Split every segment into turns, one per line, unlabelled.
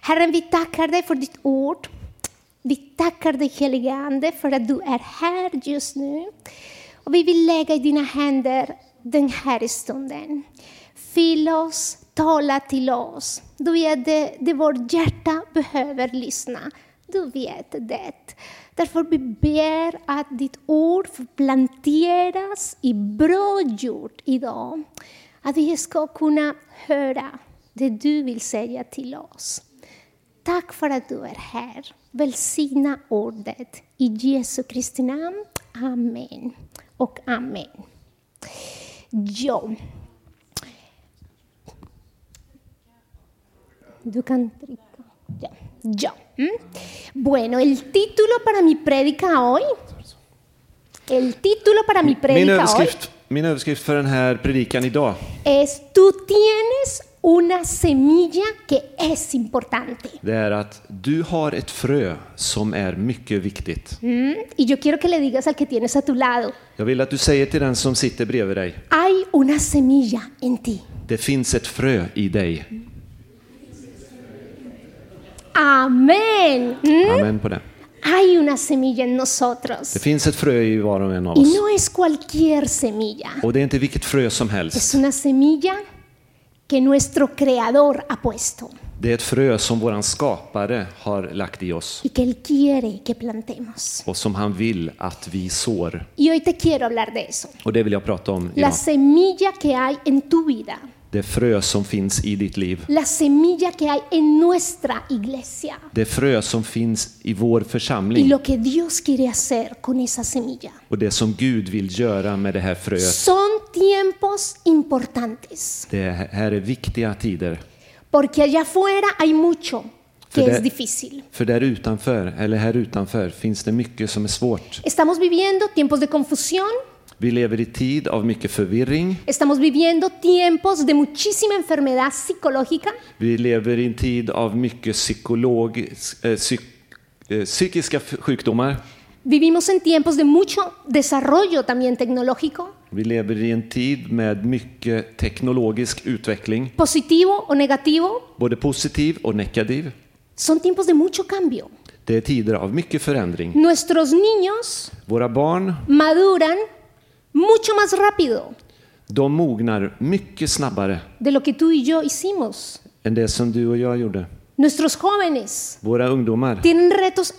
Herren, vi tackar dig för ditt ord. Vi tackar dig helige Ande för att du är här just nu. Och vi vill lägga i dina händer den här stunden. Fyll oss, tala till oss. Du är det, det vårt hjärta behöver lyssna. Du vet det. Därför vi ber att ditt ord får planteras i bra jord idag. Att vi ska kunna höra det du vill säga till oss. Tack för att du är här. Välsigna ordet. I Jesu Kristi namn. Amen och amen. Ja. Du kan trycka. Ja. ja. Mm. Bueno, el título para mi predica hoy. El título para mi
Min
predica hoy
överskrift, min överskrift för den här predikan idag
es Tú tienes una semilla que es importante.
det är att du har ett frö som är mycket viktigt.
Mm, Y yo quiero que le digas al que tienes a tu lado,
Jag vill att du säger till den som sitter bredvid dig,
hay una semilla en ti.
det finns ett frö i dig.
Amén. Mm,
Amen på det.
Hay una semilla en
Det
nosotros.
finns ett frö i var och en av
Y
oss.
no es cualquier semilla.
Och det är inte vilket frö som helst.
Es una semilla que nuestro creador ha puesto
Det är ett frö som våran skapare har lagt i oss
y que él quiere que plantemos.
och som han vill att vi sår.
Y hoy te quiero hablar de eso.
Och det vill jag prata om
La
idag.
semilla que hay en tu vida.
Det frö som finns i ditt liv.
La semilla que hay en nuestra iglesia.
Det frö som finns i vår
Y
församling.
lo que Dios quiere hacer con esa semilla.
och det som Gud vill göra med det här fröet.
Son tiempos importantes,
Det här är viktiga tider.
porque allá afuera hay mucho que
För
es
där,
difícil.
för där utanför, eller här utanför, finns det mycket som är svårt.
Estamos viviendo tiempos de confusión,
Vi lever i tid av mycket förvirring.
estamos viviendo tiempos de muchísima enfermedad psicológica,
Vi lever i en tid av mycket psykolog, eh, psyk, eh, psykiska f- sjukdomar.
vivimos en tiempos de mucho desarrollo también tecnológico,
Vi lever i en tid med mycket teknologisk utveckling,
positivo o negativo.
både positiv och negativ.
Son tiempos de mucho cambio.
Det är tider av mycket förändring.
Nuestros niños
Våra barn,
maduran mucho más rápido
de mognar mycket snabbare
de lo que tú y yo hicimos.
än det som du och jag gjorde.
Nuestros jóvenes
Våra ungdomar,
tienen retos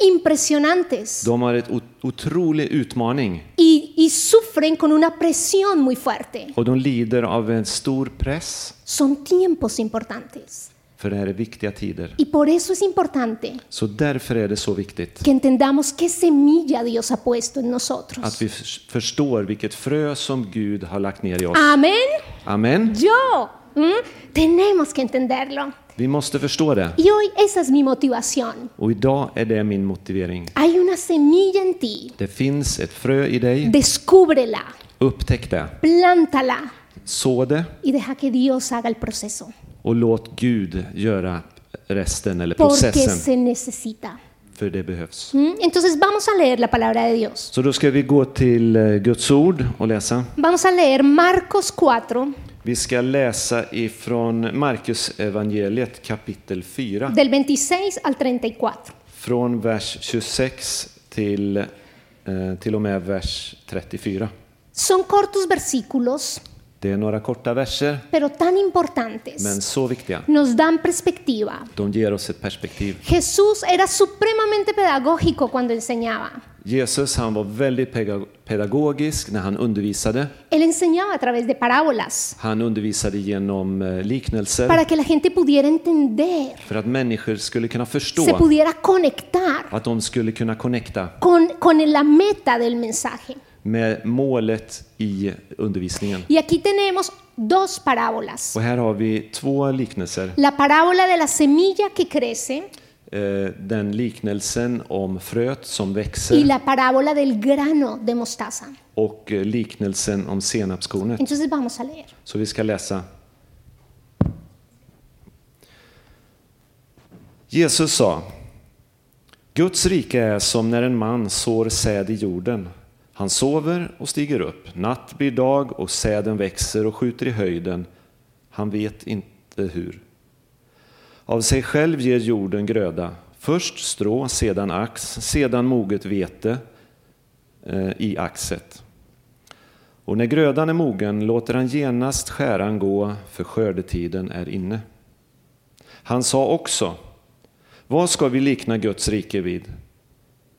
impresionantes
de har ett o- otrolig utmaning
y, y sufren con una presión muy fuerte.
och de lider av en stor press,
Son tiempos importantes.
för det här är viktiga tider.
Y por eso es importante
Så därför är det så viktigt
que entendamos qué semilla Dios ha puesto en
att
nosotros.
vi förs- förstår vilket frö som Gud har lagt ner i oss.
Amén.
Amen.
Yo. ¿Mm? Tenemos que entenderlo.
Vi måste förstå det.
Y hoy esa es mi motivación.
Och idag är det min motivering.
Hay una semilla en ti.
Det finns ett frö i dig.
Descúbrela,
Upptäck det.
plántala
Så det
y deja que Dios haga el proceso.
och låt Gud göra resten eller
Porque
processen,
se necesita.
för det behövs.
¿Mm? Entonces vamos a leer la palabra de Dios.
Så då ska vi gå till eh, Guds ord och läsa.
Vamos a leer Marcos 4,
Vi ska läsa ifrån Markus evangeliet kapitel 4,
del 26 al 34.
från vers 26 till, eh, till och med vers 34.
Son cortos versículos,
Det är några korta verser,
pero tan importantes.
men så viktiga.
Nos dan perspectiva.
De ger oss ett perspektiv.
Jesús era supremamente pedagógico cuando enseñaba.
Jesus han var väldigt pega- pedagogisk när han undervisade.
Él enseñaba a través de parábolas
Han undervisade genom eh, liknelser
para que la gente pudiera entender,
för att människor skulle kunna
se
förstå,
pudiera conectar
att de skulle kunna connecta
con, con la meta del mensaje.
med målet i undervisningen.
Y aquí tenemos dos parábolas.
Och här har vi två liknelser.
La parábola de la semilla que crece
Eh, den liknelsen om fröet som
y
växer
la parábola del grano de mostaza.
och eh, liknelsen om senapskornet.
Entonces vamos a leer.
Så vi ska läsa. Jesus sa Guds rike är som när en man sår säd i jorden. Han sover och stiger upp. Natt blir dag och säden växer och skjuter i höjden. Han vet inte hur. Av sig själv ger jorden gröda, först strå, sedan ax, sedan moget vete eh, i axet. Och när grödan är mogen låter han genast skäran gå, för skördetiden är inne. Han sa också, vad ska vi likna Guds rike vid?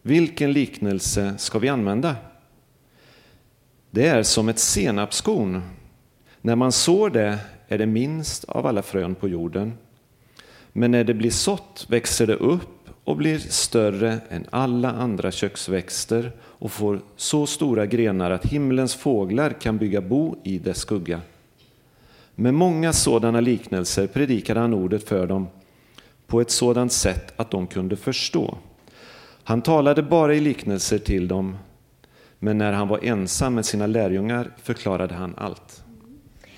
Vilken liknelse ska vi använda? Det är som ett senapskorn. När man sår det är det minst av alla frön på jorden. Men när det blir sått växer det upp och blir större än alla andra köksväxter och får så stora grenar att himlens fåglar kan bygga bo i dess skugga. Med många sådana liknelser predikade han ordet för dem på ett sådant sätt att de kunde förstå. Han talade bara i liknelser till dem, men när han var ensam med sina lärjungar förklarade han allt.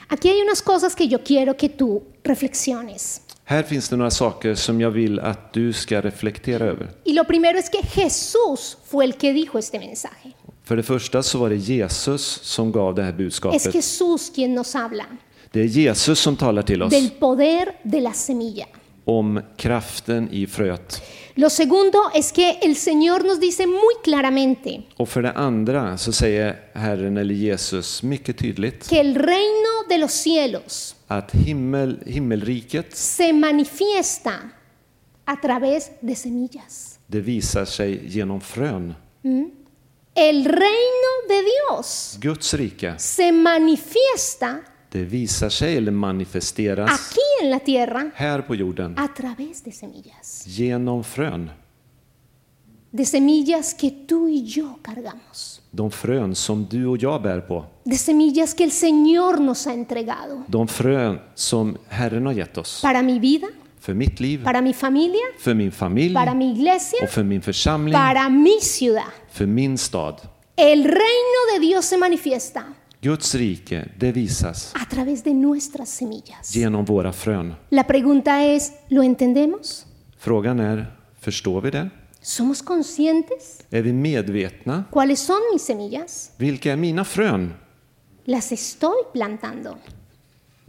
Aquí hay unas cosas que yo quiero que tú reflexiones.
Här finns det några saker som jag vill att du ska reflektera över.
Y lo primero es que Jesús fue el que dijo este mensaje.
För det första så var det Jesus som gav det här
Es
budskapet.
Jesús quien nos habla
Det är Jesus som talar till oss
del poder de la semilla.
om kraften i fröet.
Lo segundo es que el Señor nos dice muy claramente
Och för det andra så säger Herren eller Jesus mycket tydligt
que el reino de los cielos
att himmel, himmelriket
se manifiesta a través de semillas.
det visar sig genom frön.
El reino de Dios
Guds rike
se manifiesta
det visar sig eller manifesteras
aquí en la tierra
här på jorden
a través de semillas.
genom frön.
De semillas que tú y yo cargamos.
De frön som du och jag bär på.
De semillas que el Señor nos ha entregado
De frön som Herren har gett oss.
para mi vida,
För mitt liv,
para mi familia,
för min familj
para mi
och
iglesia,
för min församling,
para mi ciudad.
för min stad.
El reino de Dios se manifiesta
Guds rike, det visas
a través de nuestras semillas.
genom våra frön.
La pregunta es, ¿lo entendemos?
Frågan är, förstår vi det?
¿Somos conscientes?
Är vi medvetna?
¿Cuáles son mis semillas?
Vilka är mina frön?
Las estoy plantando.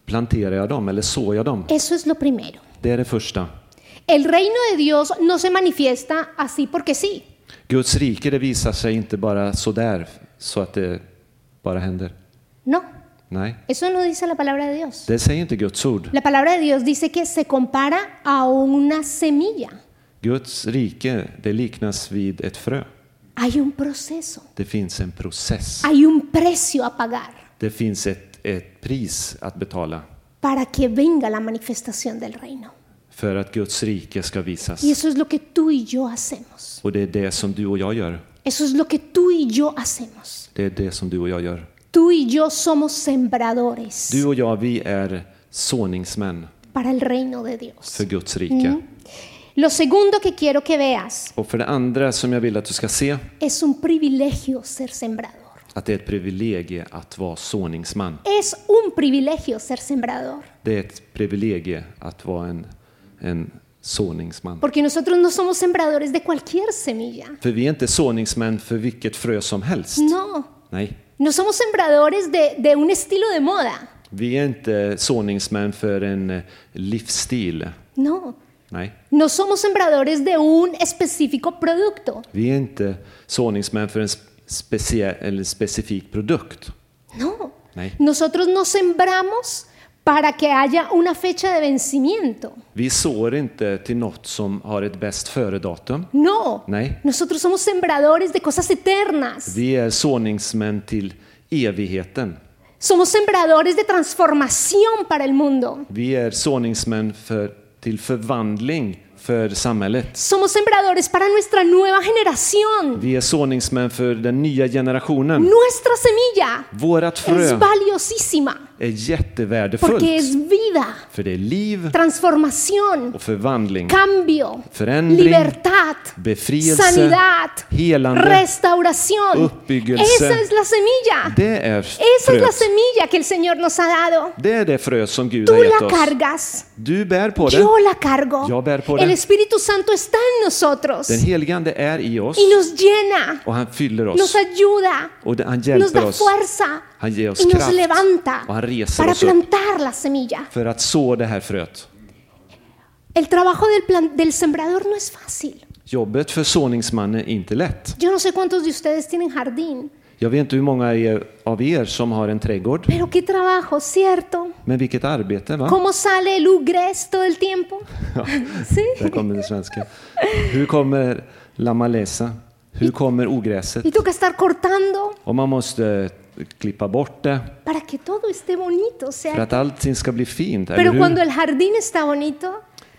Planterar jag dem eller sår jag dem?
Eso es lo primero.
Det är det första.
El reino de Dios no se manifiesta así porque sí.
Guds rike, det visar sig inte bara sådär, så att det bara händer.
No,
Nej,
eso no dice la palabra de Dios.
det säger inte Guds ord.
La palabra de Dios dice que se compara a una semilla.
Guds rike, det liknas vid ett frö.
Hay un proceso,
Det finns en process.
hay un precio a pagar
Det finns ett, ett pris att betala
para que venga la manifestación del reino.
för att Guds rike ska visas.
Y eso es lo que tú y yo hacemos.
Och det är det som du och jag gör.
Eso es lo que tú y yo hacemos.
Det är det som du och jag gör.
Tú y yo somos sembradores
Du och jag, vi är såningsmän
para el reino de
för
Dios.
Guds rike.
Lo segundo que quiero que veas
Och för det andra som jag vill att du ska se,
es un privilegio ser sembrador.
att det är ett privilegie att vara såningsman.
Es un privilegio ser sembrador.
Det är ett privilegie att vara en, en såningsman.
Porque nosotros no somos sembradores de cualquier semilla.
För vi är inte såningsmän för vilket frö som helst.
Mm. No.
Nej,
No somos sembradores de, de un estilo de moda.
vi är inte såningsmän för en eh, livsstil.
No.
Nej,
No somos sembradores de un específico producto.
vi är inte såningsmän för en specie- eller specifik produkt.
No.
Nej.
Nosotros no sembramos para que haya una fecha de vencimiento.
Vi sår inte till något som har ett bäst före-datum.
No.
Nej.
Nosotros somos sembradores de cosas eternas.
Vi är såningsmän till evigheten.
Somos sembradores de transformación para el mundo.
Vi är såningsmän för, till förvandling för samhället.
Somos sembradores para nuestra nueva generación.
Vi är såningsmän för den nya generationen.
Nuestra semilla
Vårat frö
es valiosísima
är jättevärdefullt.
porque es vida,
För det är liv
transformación,
och förvandling,
cambio,
förändring,
libertad,
befrielse,
sanidad,
helande.
restauración.
uppbyggelse.
Esa es la semilla.
Det är
Esa es la
fröet.
semilla que el Señor nos ha dado.
Det är det frö som Gud
Tú
har
la
gett oss.
cargas,
Du bär på det.
yo la cargo.
Yo ver por
El
él.
Espíritu Santo está en nosotros
Den helige Ande är i oss
y nos llena,
och han fyller
nos
oss
ayuda,
och han
nos
hjälper
da
oss
fuerza
Han ger oss
y nos
kraft.
levanta
Och han reser
para
oss upp.
plantar la semilla.
för att så det här fröet.
El trabajo del, plan- del sembrador no es fácil.
Jobbet för såningsmannen är inte lätt.
Yo no sé cuántos de ustedes tienen jardín,
Jag vet inte hur många er- av er som har en trädgård,
pero qué trabajo, ¿cierto?
men vilket arbete va?
¿Cómo sale el ugres todo el tiempo?
Där
¿Sí?
kommer det svenska. Hur kommer la malesa? Hur kommer ogräset?
Y toca estar cortando
Och man måste klippa bort det
para que todo esté bonito. O
för
sea,
att allting ska bli fint, eller
pero cuando
hur?
el jardín está bonito,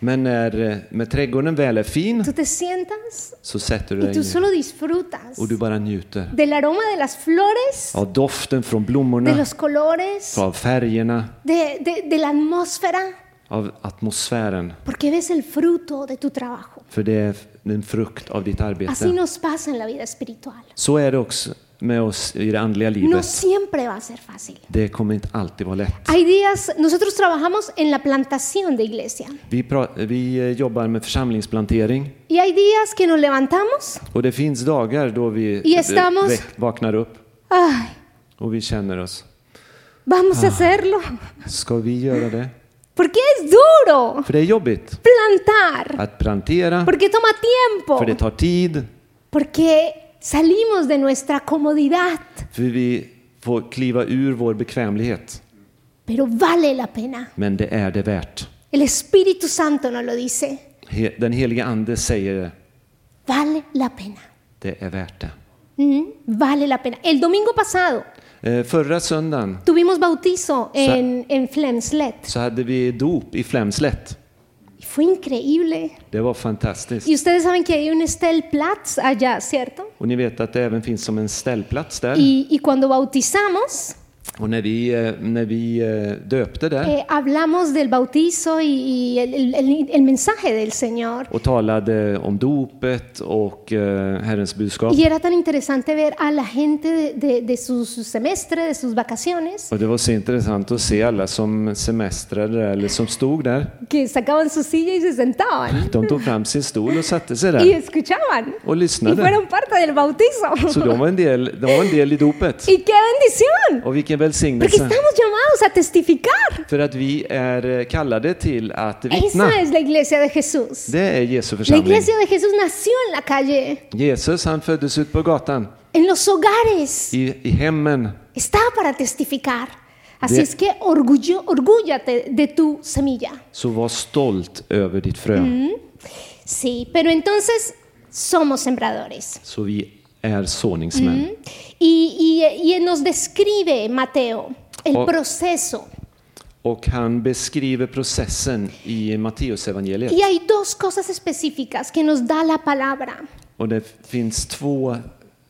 Men när eh, med trädgården väl är fin
tú te sientas
så sätter du
y
dig
tú
ner
solo disfrutas
och du bara njuter
del aroma de las flores,
av doften från
de
blommorna,
los colores,
av färgerna,
de, de- de la atmósfera,
av atmosfären.
porque ves el fruto de tu trabajo.
För det är en frukt av ditt
Así
arbete.
nos pasa en la vida espiritual.
Så är det också med oss i det andliga
No
livet.
siempre va a ser fácil.
Det kommer inte alltid vara lätt.
Hay días, nosotros trabajamos en la plantación de iglesia
Vi, pra- vi eh, jobbar med församlingsplantering
y hay días que nos levantamos,
och det finns dagar då vi
Y
eh,
estamos-
väck- vaknar upp
ay,
och vi känner oss.
vamos a hacerlo,
Ska vi göra det?
porque es duro
För det är jobbigt
plantar,
att plantera,
porque toma
för det
tiempo,
tar tid,
porque salimos de nuestra comodidad,
för vi får kliva ur vår bekvämlighet.
pero vale la pena.
Men det är det värt.
El Espíritu Santo nos lo dice,
He- Den heliga ande säger det.
vale la pena,
Det är värt det.
Mm, vale la pena. El domingo pasado
Eh, Förra söndagen
tuvimos bautizo en, en Flemslet
så hade vi dop i Flemslätt.
y fue increíble.
Det var fantastiskt.
Y ustedes saben que hay un Stellplatz allá, ¿cierto?
Och ni vet att det även finns som en ställplats där.
Y, y cuando bautizamos,
Och när vi, eh, när vi eh, döpte där
eh, hablamos del bautizo y, y el, el- el- el mensaje del Señor.
och talade om dopet och eh, Herrens budskap.
Y era tan interesante ver a la gente de, de- de su, su semestre, de sus vacaciones,
Och det var så intressant att se alla som semestrade där, eller som stod där.
que sacaban su silla y se sentaban
De tog fram sin stol och satte sig
y
där
escuchaban.
och
Y
lyssnade.
fueron parte del bautizo.
Så de var en del, de var en del i dopet.
Y qué bendición.
Och vilken
Porque
välsignelse!
estamos llamados a testificar.
För att vi är eh, kallade till att vittna.
Esa es la iglesia de Jesús.
Det är Jesu
La
församling.
iglesia de Jesús nació en la calle.
Jesus han föddes ut på gatan,
en los hogares
i, i hemmen.
está para testificar. Así
De-
es que orgullo, orgúllate de tu semilla.
Så var stolt över ditt frö.
Sí, pero entonces somos sembradores.
Så vi är såningsmän.
Mm. Y, y- y nos describe Mateo el
O-
proceso.
Och han beskriver processen i Matteusevangeliet.
Y hay dos cosas específicas que nos da la palabra.
Och det finns två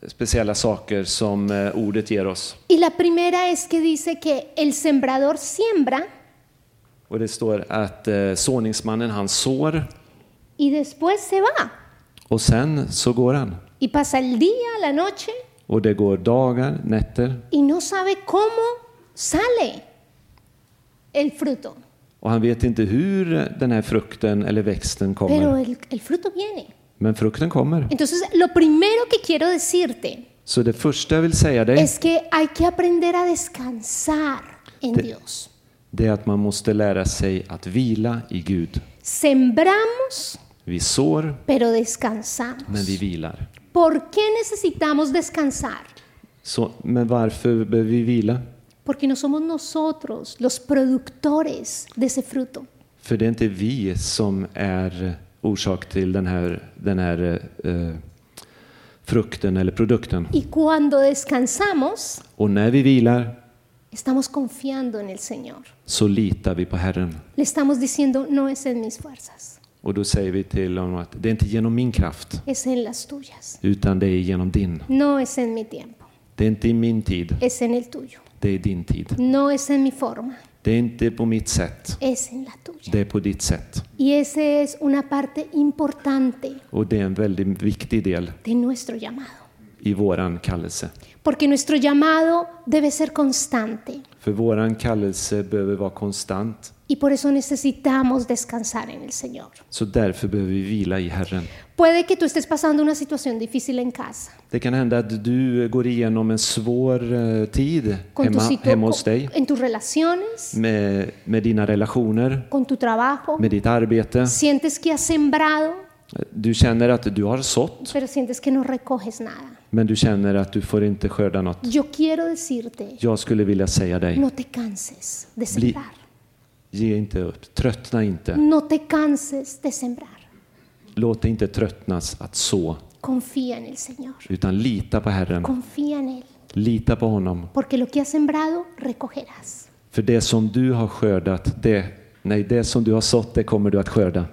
speciella saker som eh, ordet ger oss.
Y la primera es que dice que el sembrador siembra
Och det står att eh, såningsmannen han sår
y después se va.
och sen så går han.
Y pasa el día, la noche
Och det går dagar, nätter
y no sabe cómo sale el fruto.
och han vet inte hur den här frukten eller växten
Pero
kommer.
el, el fruto viene.
Men frukten kommer.
Entonces, lo primero que quiero decirte
Så det första jag vill säga dig,
es que hay que aprender a descansar en Dios.
det är att man måste lära sig att vila i Gud.
Sembramos,
Vi sår,
pero
men
descansamos.
vi vilar.
¿Por qué necesitamos descansar?
Så, men varför behöver vi vila?
Porque no somos nosotros los productores de ese fruto.
För det är inte vi som är orsak till den här, den här eh, frukten eller produkten.
Y cuando descansamos,
Och när vi vilar
estamos confiando en el Señor.
så litar vi på Herren.
Le estamos diciendo, no es en mis fuerzas,
Och då säger vi till honom att det är inte genom min kraft,
es en las tuyas.
utan det är genom din.
No es en mi tiempo,
Det är inte i min tid,
es en el tuyo.
det är i din tid.
No es en mi forma,
Det är inte på mitt sätt,
es en la tuya.
det är på ditt sätt.
Y esa es una parte importante
Och det är en väldigt viktig del
de nuestro llamado.
i våran kallelse.
Porque nuestro llamado debe ser constante.
För våran kallelse behöver vara konstant.
Y por eso necesitamos descansar en el Señor.
Så därför behöver vi vila i Herren.
Puede que tú estés pasando una situación difícil en casa.
Det kan hända att du går igenom en svår eh, tid
Con tu
hemma,
situ-
hemma hos dig.
con- en tus relaciones,
Med, med dina relationer,
con tu trabajo.
med ditt arbete.
Sientes que has sembrado,
Du känner att du har sått,
pero sientes que no recoges nada.
men du känner att du får inte skörda något.
Yo quiero decirte,
Jag skulle vilja säga dig,
no te canses de
Bli-
sembrar.
ge inte upp. Tröttna inte.
No te canses de sembrar.
Låt dig inte tröttnas att så,
Confía en el Señor.
utan lita på Herren.
Confía en Él.
Lita på honom.
Porque lo que has sembrado, recogerás.
För det som du har skördat, det, nej, det som du har sått, det kommer du att skörda.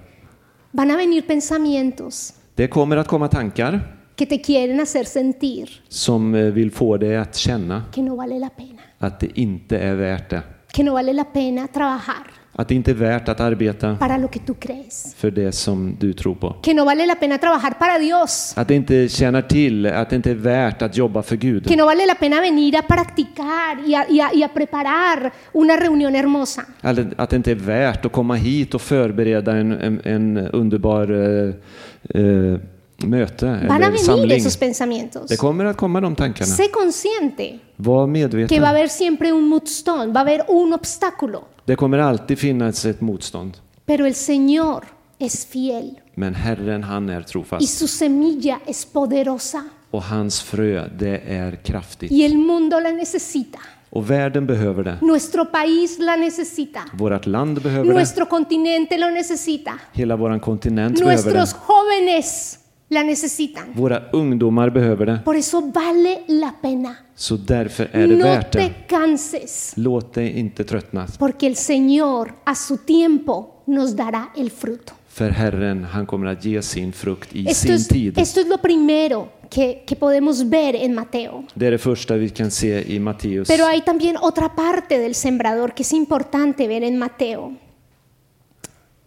Van a venir pensamientos
Det kommer att komma tankar
que te quieren hacer sentir
som eh, vill få dig att känna
que no vale la pena.
att det inte är värt det.
Que no vale la pena trabajar
Att det inte är värt att arbeta
para lo que tú crees.
för det som du tror på.
Que no vale la pena trabajar para Dios.
Att det inte tjänar till, att det inte är värt att jobba för Gud.
Que no vale la pena venir a practicar y a, y a- y a preparar una reunión hermosa.
Eller att det inte är värt att komma hit och förbereda en, en, en underbar eh, eh, möte
Van a
eller
venir
samling.
esos pensamientos.
Det kommer att komma de tankarna.
Sé consciente
Var
que va a
medveten.
haber siempre un mudstone, va a haber un obstáculo.
Det kommer alltid finnas ett motstånd.
Pero el Señor es fiel
Men Herren, han är
y
trofast.
su semilla es poderosa
Och hans frö, det är kraftigt.
y el mundo la necesita.
Och världen behöver det.
Nuestro país la necesita.
Vårt land behöver det.
Nuestro continente lo necesita.
Hela vår kontinent behöver det.
Nuestros jóvenes la necesitan.
Våra ungdomar behöver det.
Por eso vale la pena.
Så därför är det
No
värt det.
te canses,
Låt dig inte tröttnas.
porque el Señor a su tiempo nos dará el fruto.
För Herren, han kommer att ge sin frukt i
Esto
sin
es,
tid.
esto es lo primero que, que podemos ver en Mateo.
Det är det första vi kan se i Matteus.
Pero hay también otra parte del sembrador que es importante ver en Mateo.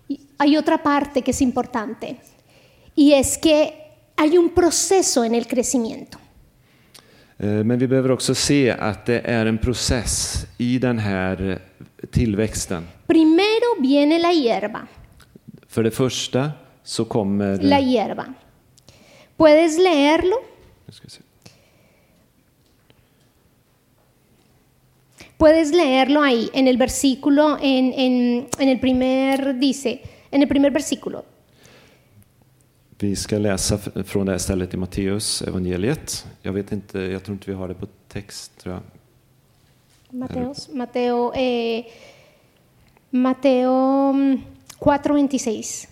Y Hay otra parte que es importante y es que hay un proceso en el crecimiento.
Eh, Men vi behöver också se att det är en process i den här tillväxten.
Primero viene la hierba,
För det första så kommer...
la hierba. ¿Puedes leerlo?
Nu ska vi se.
Puedes leerlo ahí en el versículo, en, en- en el primer, dice, en el primer versículo.
Vi ska läsa f- från det här stället i Matteus evangeliet. Jag vet inte, jag tror inte vi har det på text tror jag.
Mateos, Mateo, eh, Mateo mm, 4.26.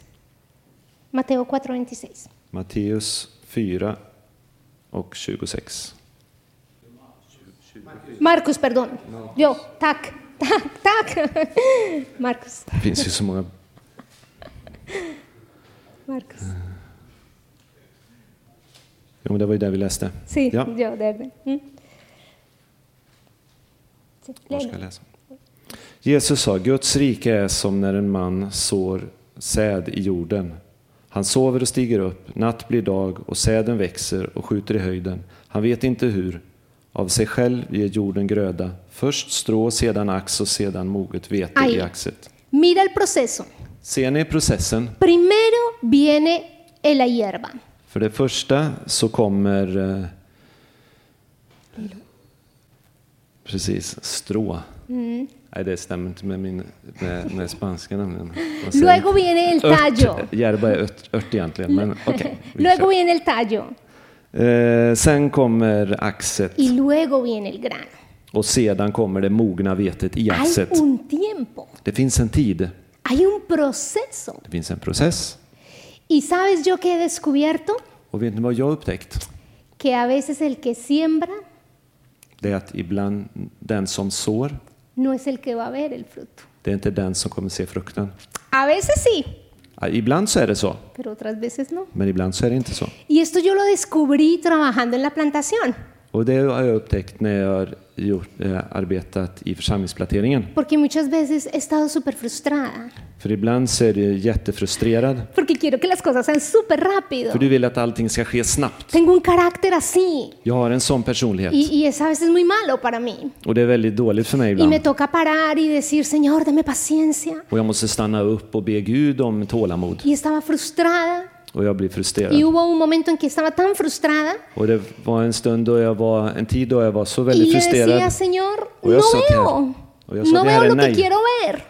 Mateo 4.26.
Matteus 4 och 26.
Marcus, perdón. Yo, tac, tac, tac. Marcus,
Det finns ju så många.
Marcus.
Jo, men det var ju det vi läste.
Sí,
Ja.
yo, desde. ¿Mm? Sí,
Var ska
léelo.
jag läsa? Jesus sa, Guds rike är som när en man sår säd i jorden. Han sover och stiger upp, natt blir dag och säden växer och skjuter i höjden. Han vet inte hur. Av sig själv ger jorden gröda, först strå, sedan ax och sedan moget vete
Aj.
i axet.
Mira el proceso.
Ser ni processen?
Primero viene eh, la hierba.
För det första så kommer... eh, Precis, strå.
Mm.
Nej, det stämmer inte med min med, med spanska nämligen. Vad säger
Luego
jag?
viene el tallo.
Ört, järba är ört, ört egentligen, men okej. vi
Luego
kör.
viene el tallo.
eh, sen kommer axet
Y luego viene el grano.
och sedan kommer det mogna vetet i
Hay
axet.
un tiempo.
Det finns en tid,
Hay un proceso.
det finns en process.
¿Y sabes yo que he descubierto?
Och vet ni vad jag har upptäckt?
Que a veces el que siembra
Det är att ibland den som sår,
no es el que va a ver el fruto.
det är inte den som kommer se frukten.
A veces sí,
Ja, Ibland så är det så,
pero otras veces no.
men ibland så är det inte så.
Y esto yo lo descubrí trabajando en la plantación,
Och det har jag upptäckt när jag har gjort, eh, arbetat i församlingsplanteringen.
porque muchas veces he estado súper frustrada
För ibland så är du jättefrustrerad.
porque quiero que las cosas sean súper rápido.
För du vill att allting ska ske snabbt.
Tengo un carácter así
Jag har en sån personlighet.
y, y es a veces muy malo para mí.
Och det är väldigt dåligt för mig
Y me
ibland.
toca parar y decir, Señor, dame paciencia.
Och jag måste stanna upp och be Gud om tålamod.
Y estaba frustrada.
Och jag blir
Y
frustrerad.
hubo un momento en que estaba tan frustrada
Och det var en stund då jag var, en tid då jag var så
y
väldigt
le decía,
frustrerad.
Señor,
Voy a
no
saquear.
veo.
Voy a
No
saquear
veo
el
lo que
nail.
quiero ver.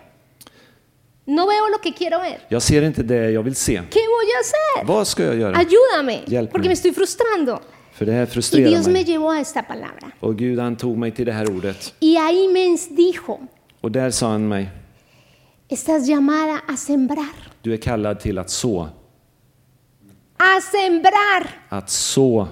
No veo lo que quiero ver.
Jag ser inte det jag vill se.
¿Qué voy a hacer?
Vad ska jag göra?
Ayúdame,
Yálpame.
porque me estoy frustrando.
För det här
Y
frustrerar
Dios me
mig.
llevó a esta palabra.
Och Gud han tog mig till det här ordet.
Y ahí me dijo,
Och där sa han mig,
estás llamada a sembrar.
du är kallad till att så.
A sembrar.
Att så.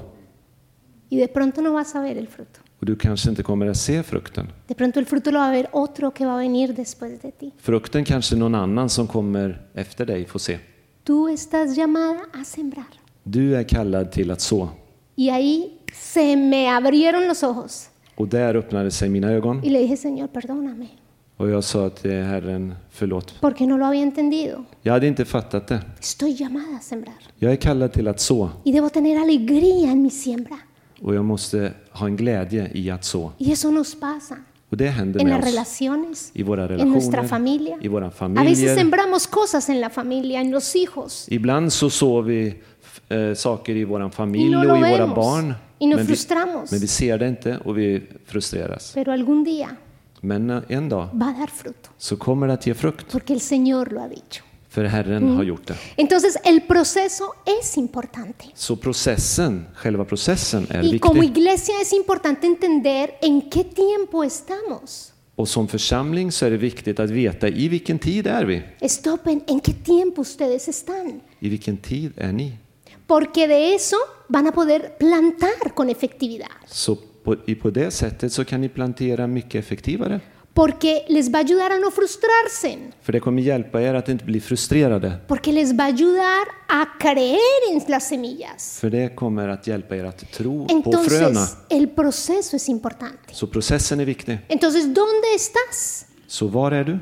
Y de pronto no vas a ver el fruto.
Och du kanske inte kommer att se frukten.
De pronto el fruto lo va a ver otro que va a venir después de ti.
Frukten kanske någon annan som kommer efter dig får se.
Tú estás llamada a sembrar.
Du är kallad till att så.
Y ahí se me abrieron los ojos.
Och där öppnade sig mina ögon
Y le dije, Señor, perdóname,
och jag sa till Herren, förlåt.
porque no lo había entendido.
Jag hade inte fattat det.
Estoy llamada a sembrar.
Jag är kallad till att så
Y debo tener alegría en mi siembra.
och jag måste ha en glädje i att så.
Y eso nos pasa
Och det händer
en las
med oss.
relaciones,
I våra
en nuestra
relationer,
familia.
i våra
A veces
familjer.
sembramos cosas en la familia, en los hijos,
Ibland så sår vi eh, saker i vår
y
familj
no
och
lo
i våra
vemos,
barn.
y nos
Men vi,
frustramos,
men vi ser det inte och vi frustreras.
pero algún día
Men eh, en dag
va a dar fruto,
så kommer det att ge frukt,
porque el Señor lo ha dicho.
för Herren
Mm.
har gjort det.
Entonces el proceso es importante.
Så processen, själva processen är
Y como
viktig.
iglesia es importante entender en qué tiempo estamos.
Och som församling så är det viktigt att veta i vilken tid är vi?
Stopen, en qué tiempo ustedes están.
I vilken tid är ni?
Porque de eso van a poder plantar con efectividad.
Så på, i- på det sättet så kan ni plantera mycket effektivare.
Porque les va a ayudar a no frustrarse.
För det kommer hjälpa er att inte bli frustrerade.
Porque les va a ayudar a creer en las semillas.
För det kommer att hjälpa er att tro på fröna.
Entonces, el proceso es importante.
Så processen är viktig.
Entonces, ¿dónde estás?
Så var är du?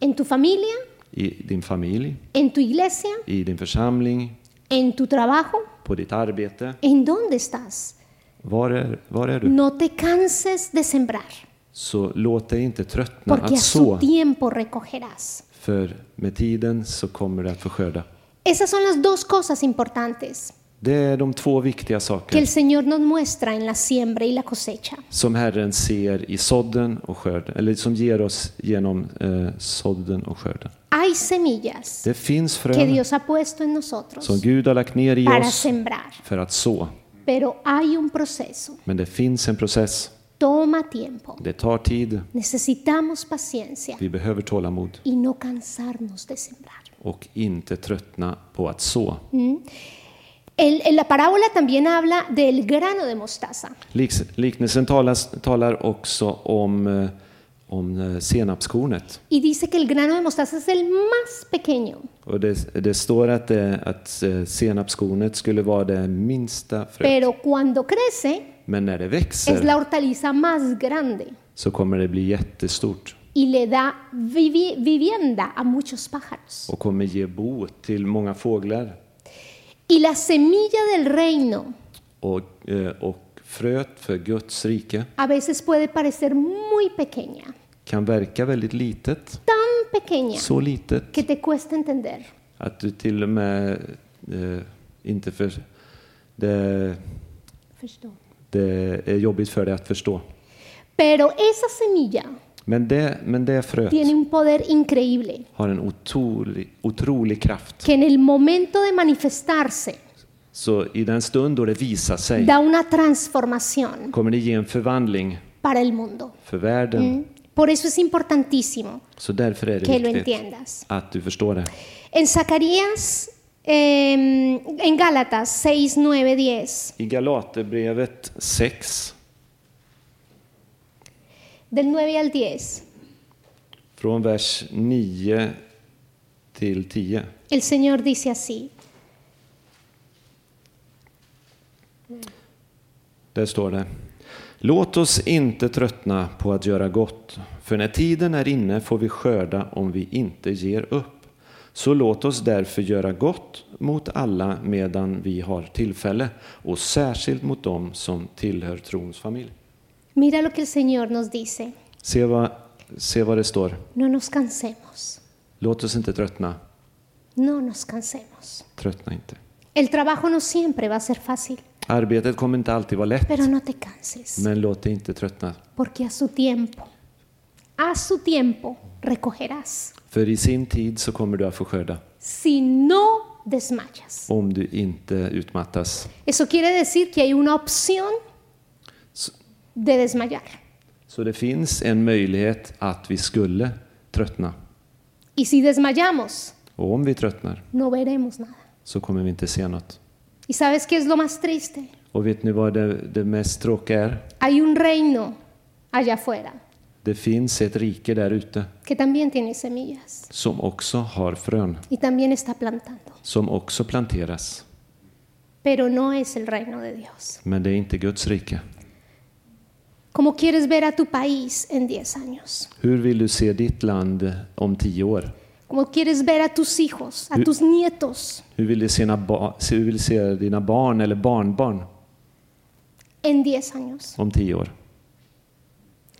¿En tu familia?
I din familj,
¿En tu iglesia?
i din församling,
¿En tu trabajo?
på ditt arbete.
¿En dónde estás?
Var är, var är du?
No te canses de sembrar,
Så låt dig inte tröttna
porque a
att
su
så.
tiempo recogerás.
För med tiden så kommer du att få skörda.
Esas son las dos cosas importantes
Det är de två viktiga
que
saker
el Señor nos muestra en la siembra y la cosecha.
som Herren ser i sådden och skörden, eller som ger oss genom eh, sådden och skörden.
Hay semillas
Det finns
que
frön
Dios ha puesto en nosotros
som Gud har lagt ner i
para
oss
sembrar,
för att så.
pero hay un proceso,
Men det finns en process.
toma tiempo,
Det tar tid.
necesitamos paciencia
Vi behöver tålamod
y no cansarnos de sembrar.
och inte tröttna på att så.
El- en la parábola también habla del grano de mostaza.
Liks- Liknelsen talas, talar också om, eh, om eh, senapskornet.
Y dice que el grano de mostaza es el más pequeño,
Och det, det står att, det, att eh, senapskornet skulle vara det minsta fröet.
pero cuando crece
Men när det
es la
växer
hortaliza más grande
så kommer det bli jättestort
y le da vivi- vivienda a muchos pájaros.
och kommer ge bo till många fåglar.
Y la semilla del reino
Och, eh, och fröet för Guds rike
a veces puede parecer muy pequeña,
kan verka väldigt litet.
tan pequeña
Så litet
que te cuesta entender.
att du till och med eh, inte för... Det, det är jobbigt för dig att förstå.
Pero esa semilla
Men det, men det fröet
tiene un poder increíble
har en otrolig, otrolig kraft.
que en el momento de manifestarse
Så i den stund då det visar sig
da una transformación
kommer det ge en förvandling
para el mundo.
för världen.
Mm. Por eso es importantísimo
Så därför är det
que lo
viktigt
entiendas.
att du förstår det.
En Zacarías, eh, en Gálatas 6, 9, 10,
I Galaterbrevet 6,
del 9 al 10,
från vers 9 till 10.
el Señor dice así,
Där står det. Låt oss inte tröttna på att göra gott, för när tiden är inne får vi skörda om vi inte ger upp. Så låt oss därför göra gott mot alla medan vi har tillfälle och särskilt mot dem som tillhör trons familj.
Mira lo que el Señor nos dice.
Se vad, se vad det står.
No nos cansemos.
Låt oss inte tröttna.
No nos cansemos.
Tröttna inte.
El trabajo no siempre va a ser fácil,
Arbetet kommer inte alltid vara lätt,
pero no te canses,
men låt dig inte tröttna.
porque a su tiempo, a su tiempo recogerás,
För i sin tid så kommer du att få skörda
si no desmayas.
om du inte utmattas.
Eso quiere decir que hay una opción
S-
de desmayar.
Så det finns en möjlighet att vi skulle tröttna.
Y si desmayamos,
Och om vi tröttnar
no veremos nada.
så kommer vi inte se något.
¿Y sabes qué es lo más triste?
Och vet ni vad det, det mest tråkiga är?
Hay un reino allá afuera
Det finns ett rike där ute
que también tiene semillas
som också har frön,
y también está plantando,
som också planteras.
pero no es el reino de Dios.
Men det är inte Guds rike.
¿Cómo quieres ver a tu país en 10 años?
Hur vill du se ditt land om tio år?
¿Cómo quieres ver a tus hijos, a
Yo-
tus nietos
Hur vill du se, na- ba- se- hur vill du se dina barn eller barnbarn
en 10 años?
om tio år?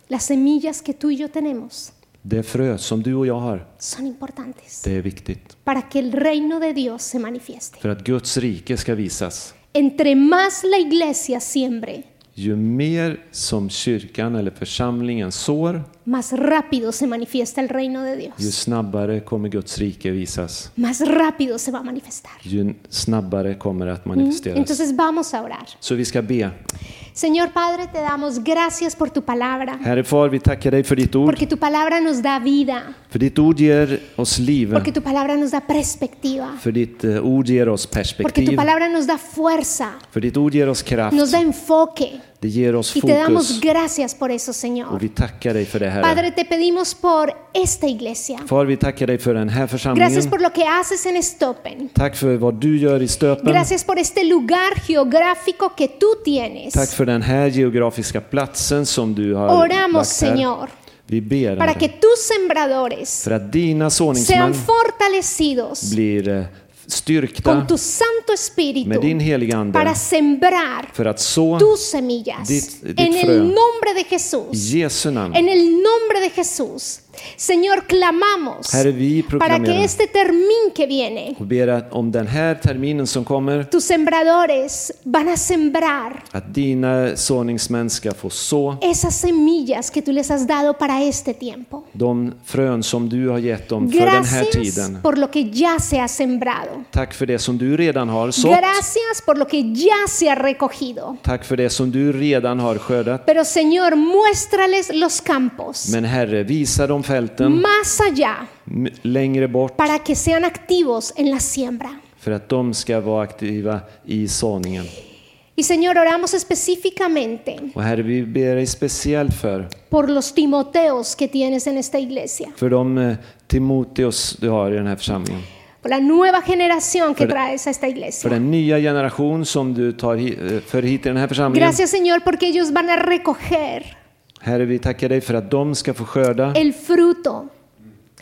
Las semillas que tú y yo tenemos
Det frö som du och jag har,
son importantes
det är viktigt.
para que el reino de Dios se manifieste.
För att Guds rike ska visas.
Entre más la iglesia siembre,
Ju mer som kyrkan eller församlingen sår,
más rápido se manifiesta el reino de
ju
Dios.
snabbare kommer Guds rike visas.
Más rápido se va a manifestar.
Ju snabbare kommer det att
¿Mm?
manifesteras.
Entonces vamos a orar.
Så vi ska be.
Señor Padre, te damos gracias por tu palabra,
Herre far, vi tackar dig för ditt ord.
porque tu palabra nos da vida,
För ditt ord ger oss liv.
porque tu palabra nos da perspectiva,
För ditt eh, ord ger oss
porque tu
perspektiv.
palabra nos da fuerza,
För ditt ord ger oss
nos
kraft.
da enfoque.
Det ger oss
Y te damos
fokus.
gracias por eso,
Och
Señor.
vi tackar dig för det, Herre.
Padre, te pedimos por esta iglesia.
Far, vi tackar dig för den här
Gracias
församlingen.
por lo que haces en Stoppen.
Tack för vad du gör i Stöpen.
Gracias por este lugar geográfico que tú tienes.
Tack för den här geografiska platsen som du har
Oramos,
lagt här.
Señor,
Vi ber
para que
Herre,
tus sembradores
för att dina såningsmän
sean fortalecidos
blir eh, styrkta
con tu Santo Espíritu
med din heliga Ande
para sembrar
för att så
tus semillas
Dit- dit
en
frö.
el nombre de
i
Jesús.
Jesu namn.
En el nombre de Jesús, Señor, clamamos
Herre, vi
para que
proklamerar
este termín que viene
och ber att om den här terminen som kommer
Tus sembradores van a sembrar
att dina såningsmän ska få så
esas semillas que tú les has dado para este tiempo.
de frön som du har gett dem för den här
Gracias
tiden.
por lo que ya se ha sembrado.
Tack för det som du redan har sått.
Gracias por lo que ya se ha recogido.
Tack för det som du redan har skördat.
Pero Señor, muéstrales los campos
Men Herre, visa de fälten
más allá
m- längre bort
para que sean activos en la siembra.
för att de ska vara aktiva i såningen.
Y Señor, oramos específicamente
Och Herre, vi ber dig speciellt för,
por los Timoteos que tienes en esta iglesia,
för de eh, Timoteos du har i den här församlingen.
por la nueva generación que
Fuera-
traes a esta
För
iglesia.
den nya generation som du tar hi- eh, för hit i den här församlingen.
Gracias Señor porque ellos van a recoger
Herre, vi tackar dig för att de ska få skörda
el fruto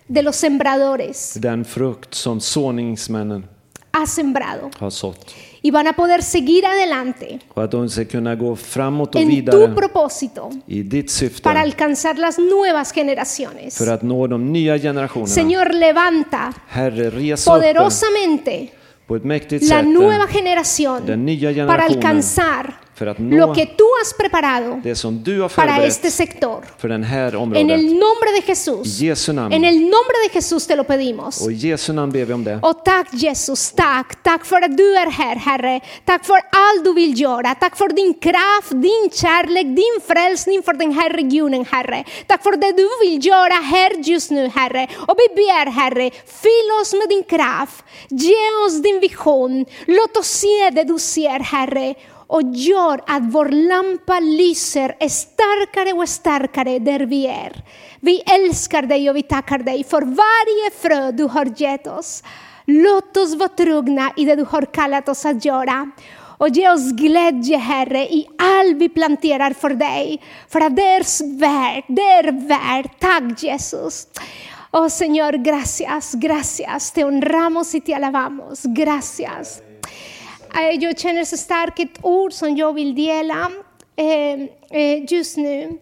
de los sembradores
den frukt som såningsmännen
ha sembrado
har sått.
y van a poder seguir adelante
Och att de ska kunna gå framåt och
en tu
vidare
propósito
i ditt
para
syfte
alcanzar las nuevas generaciones.
för att nå de nya generationerna.
Señor, levanta
Herre, res upp dem
poderosamente
på ett mäktigt
la
sätt
nueva generación
den nya
para
generationen
alcanzar
för att
lo
nå
que tú has preparado
det som du har
para este
förberett
sector.
för den här
En
området.
el nombre de
I
Jesús,
Jesu
en
namn.
el nombre de Jesús te lo pedimos.
Och i Jesu namn ber vi om det.
Och tack Jesus, tack. Tack för att du är här Herre. Tack för allt du vill göra. Tack för din kraft, din kärlek, din frälsning för den här regionen Herre. Tack för det du vill göra här just nu Herre. Och vi ber Herre, fyll oss med din kraft. Ge oss din vision. Låt oss se det du ser Herre. Och gör att vår lampa lyser starkare och starkare där vi är. Vi älskar dig och vi tackar dig för varje frö du har gett oss. Låt oss vara trogna i det du har kallat oss att göra. Och ge oss glädje, Herre, i allt vi planterar för dig. För att det är värt, det är värt. Tack Jesus. Oh Señor, gracias, gracias. Te honramos y te alabamos. Gracias. Eh, Jag känner så starkt ett ord som jag vill dela eh, eh, just nu.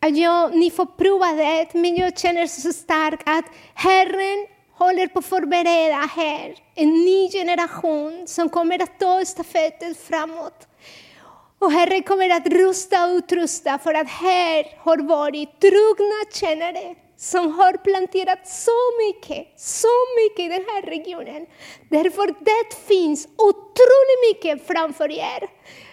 Att Jag, ni får prova det, men jag känner så starkt att Herren håller på att förbereda här en ny generation som kommer att ta stafetten framåt. Och Herren kommer att rusta och utrusta för att här har varit trogna tjänare som har planterat så mycket, så mycket i den här regionen. Därför det finns otroligt mycket framför er.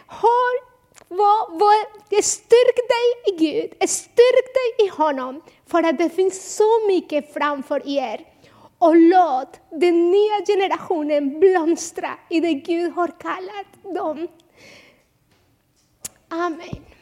Har, var, var, styrk dig i Gud, styrk dig i honom, för att det finns så mycket framför er. Och låt den nya generationen blomstra i det Gud har kallat dem. Amen.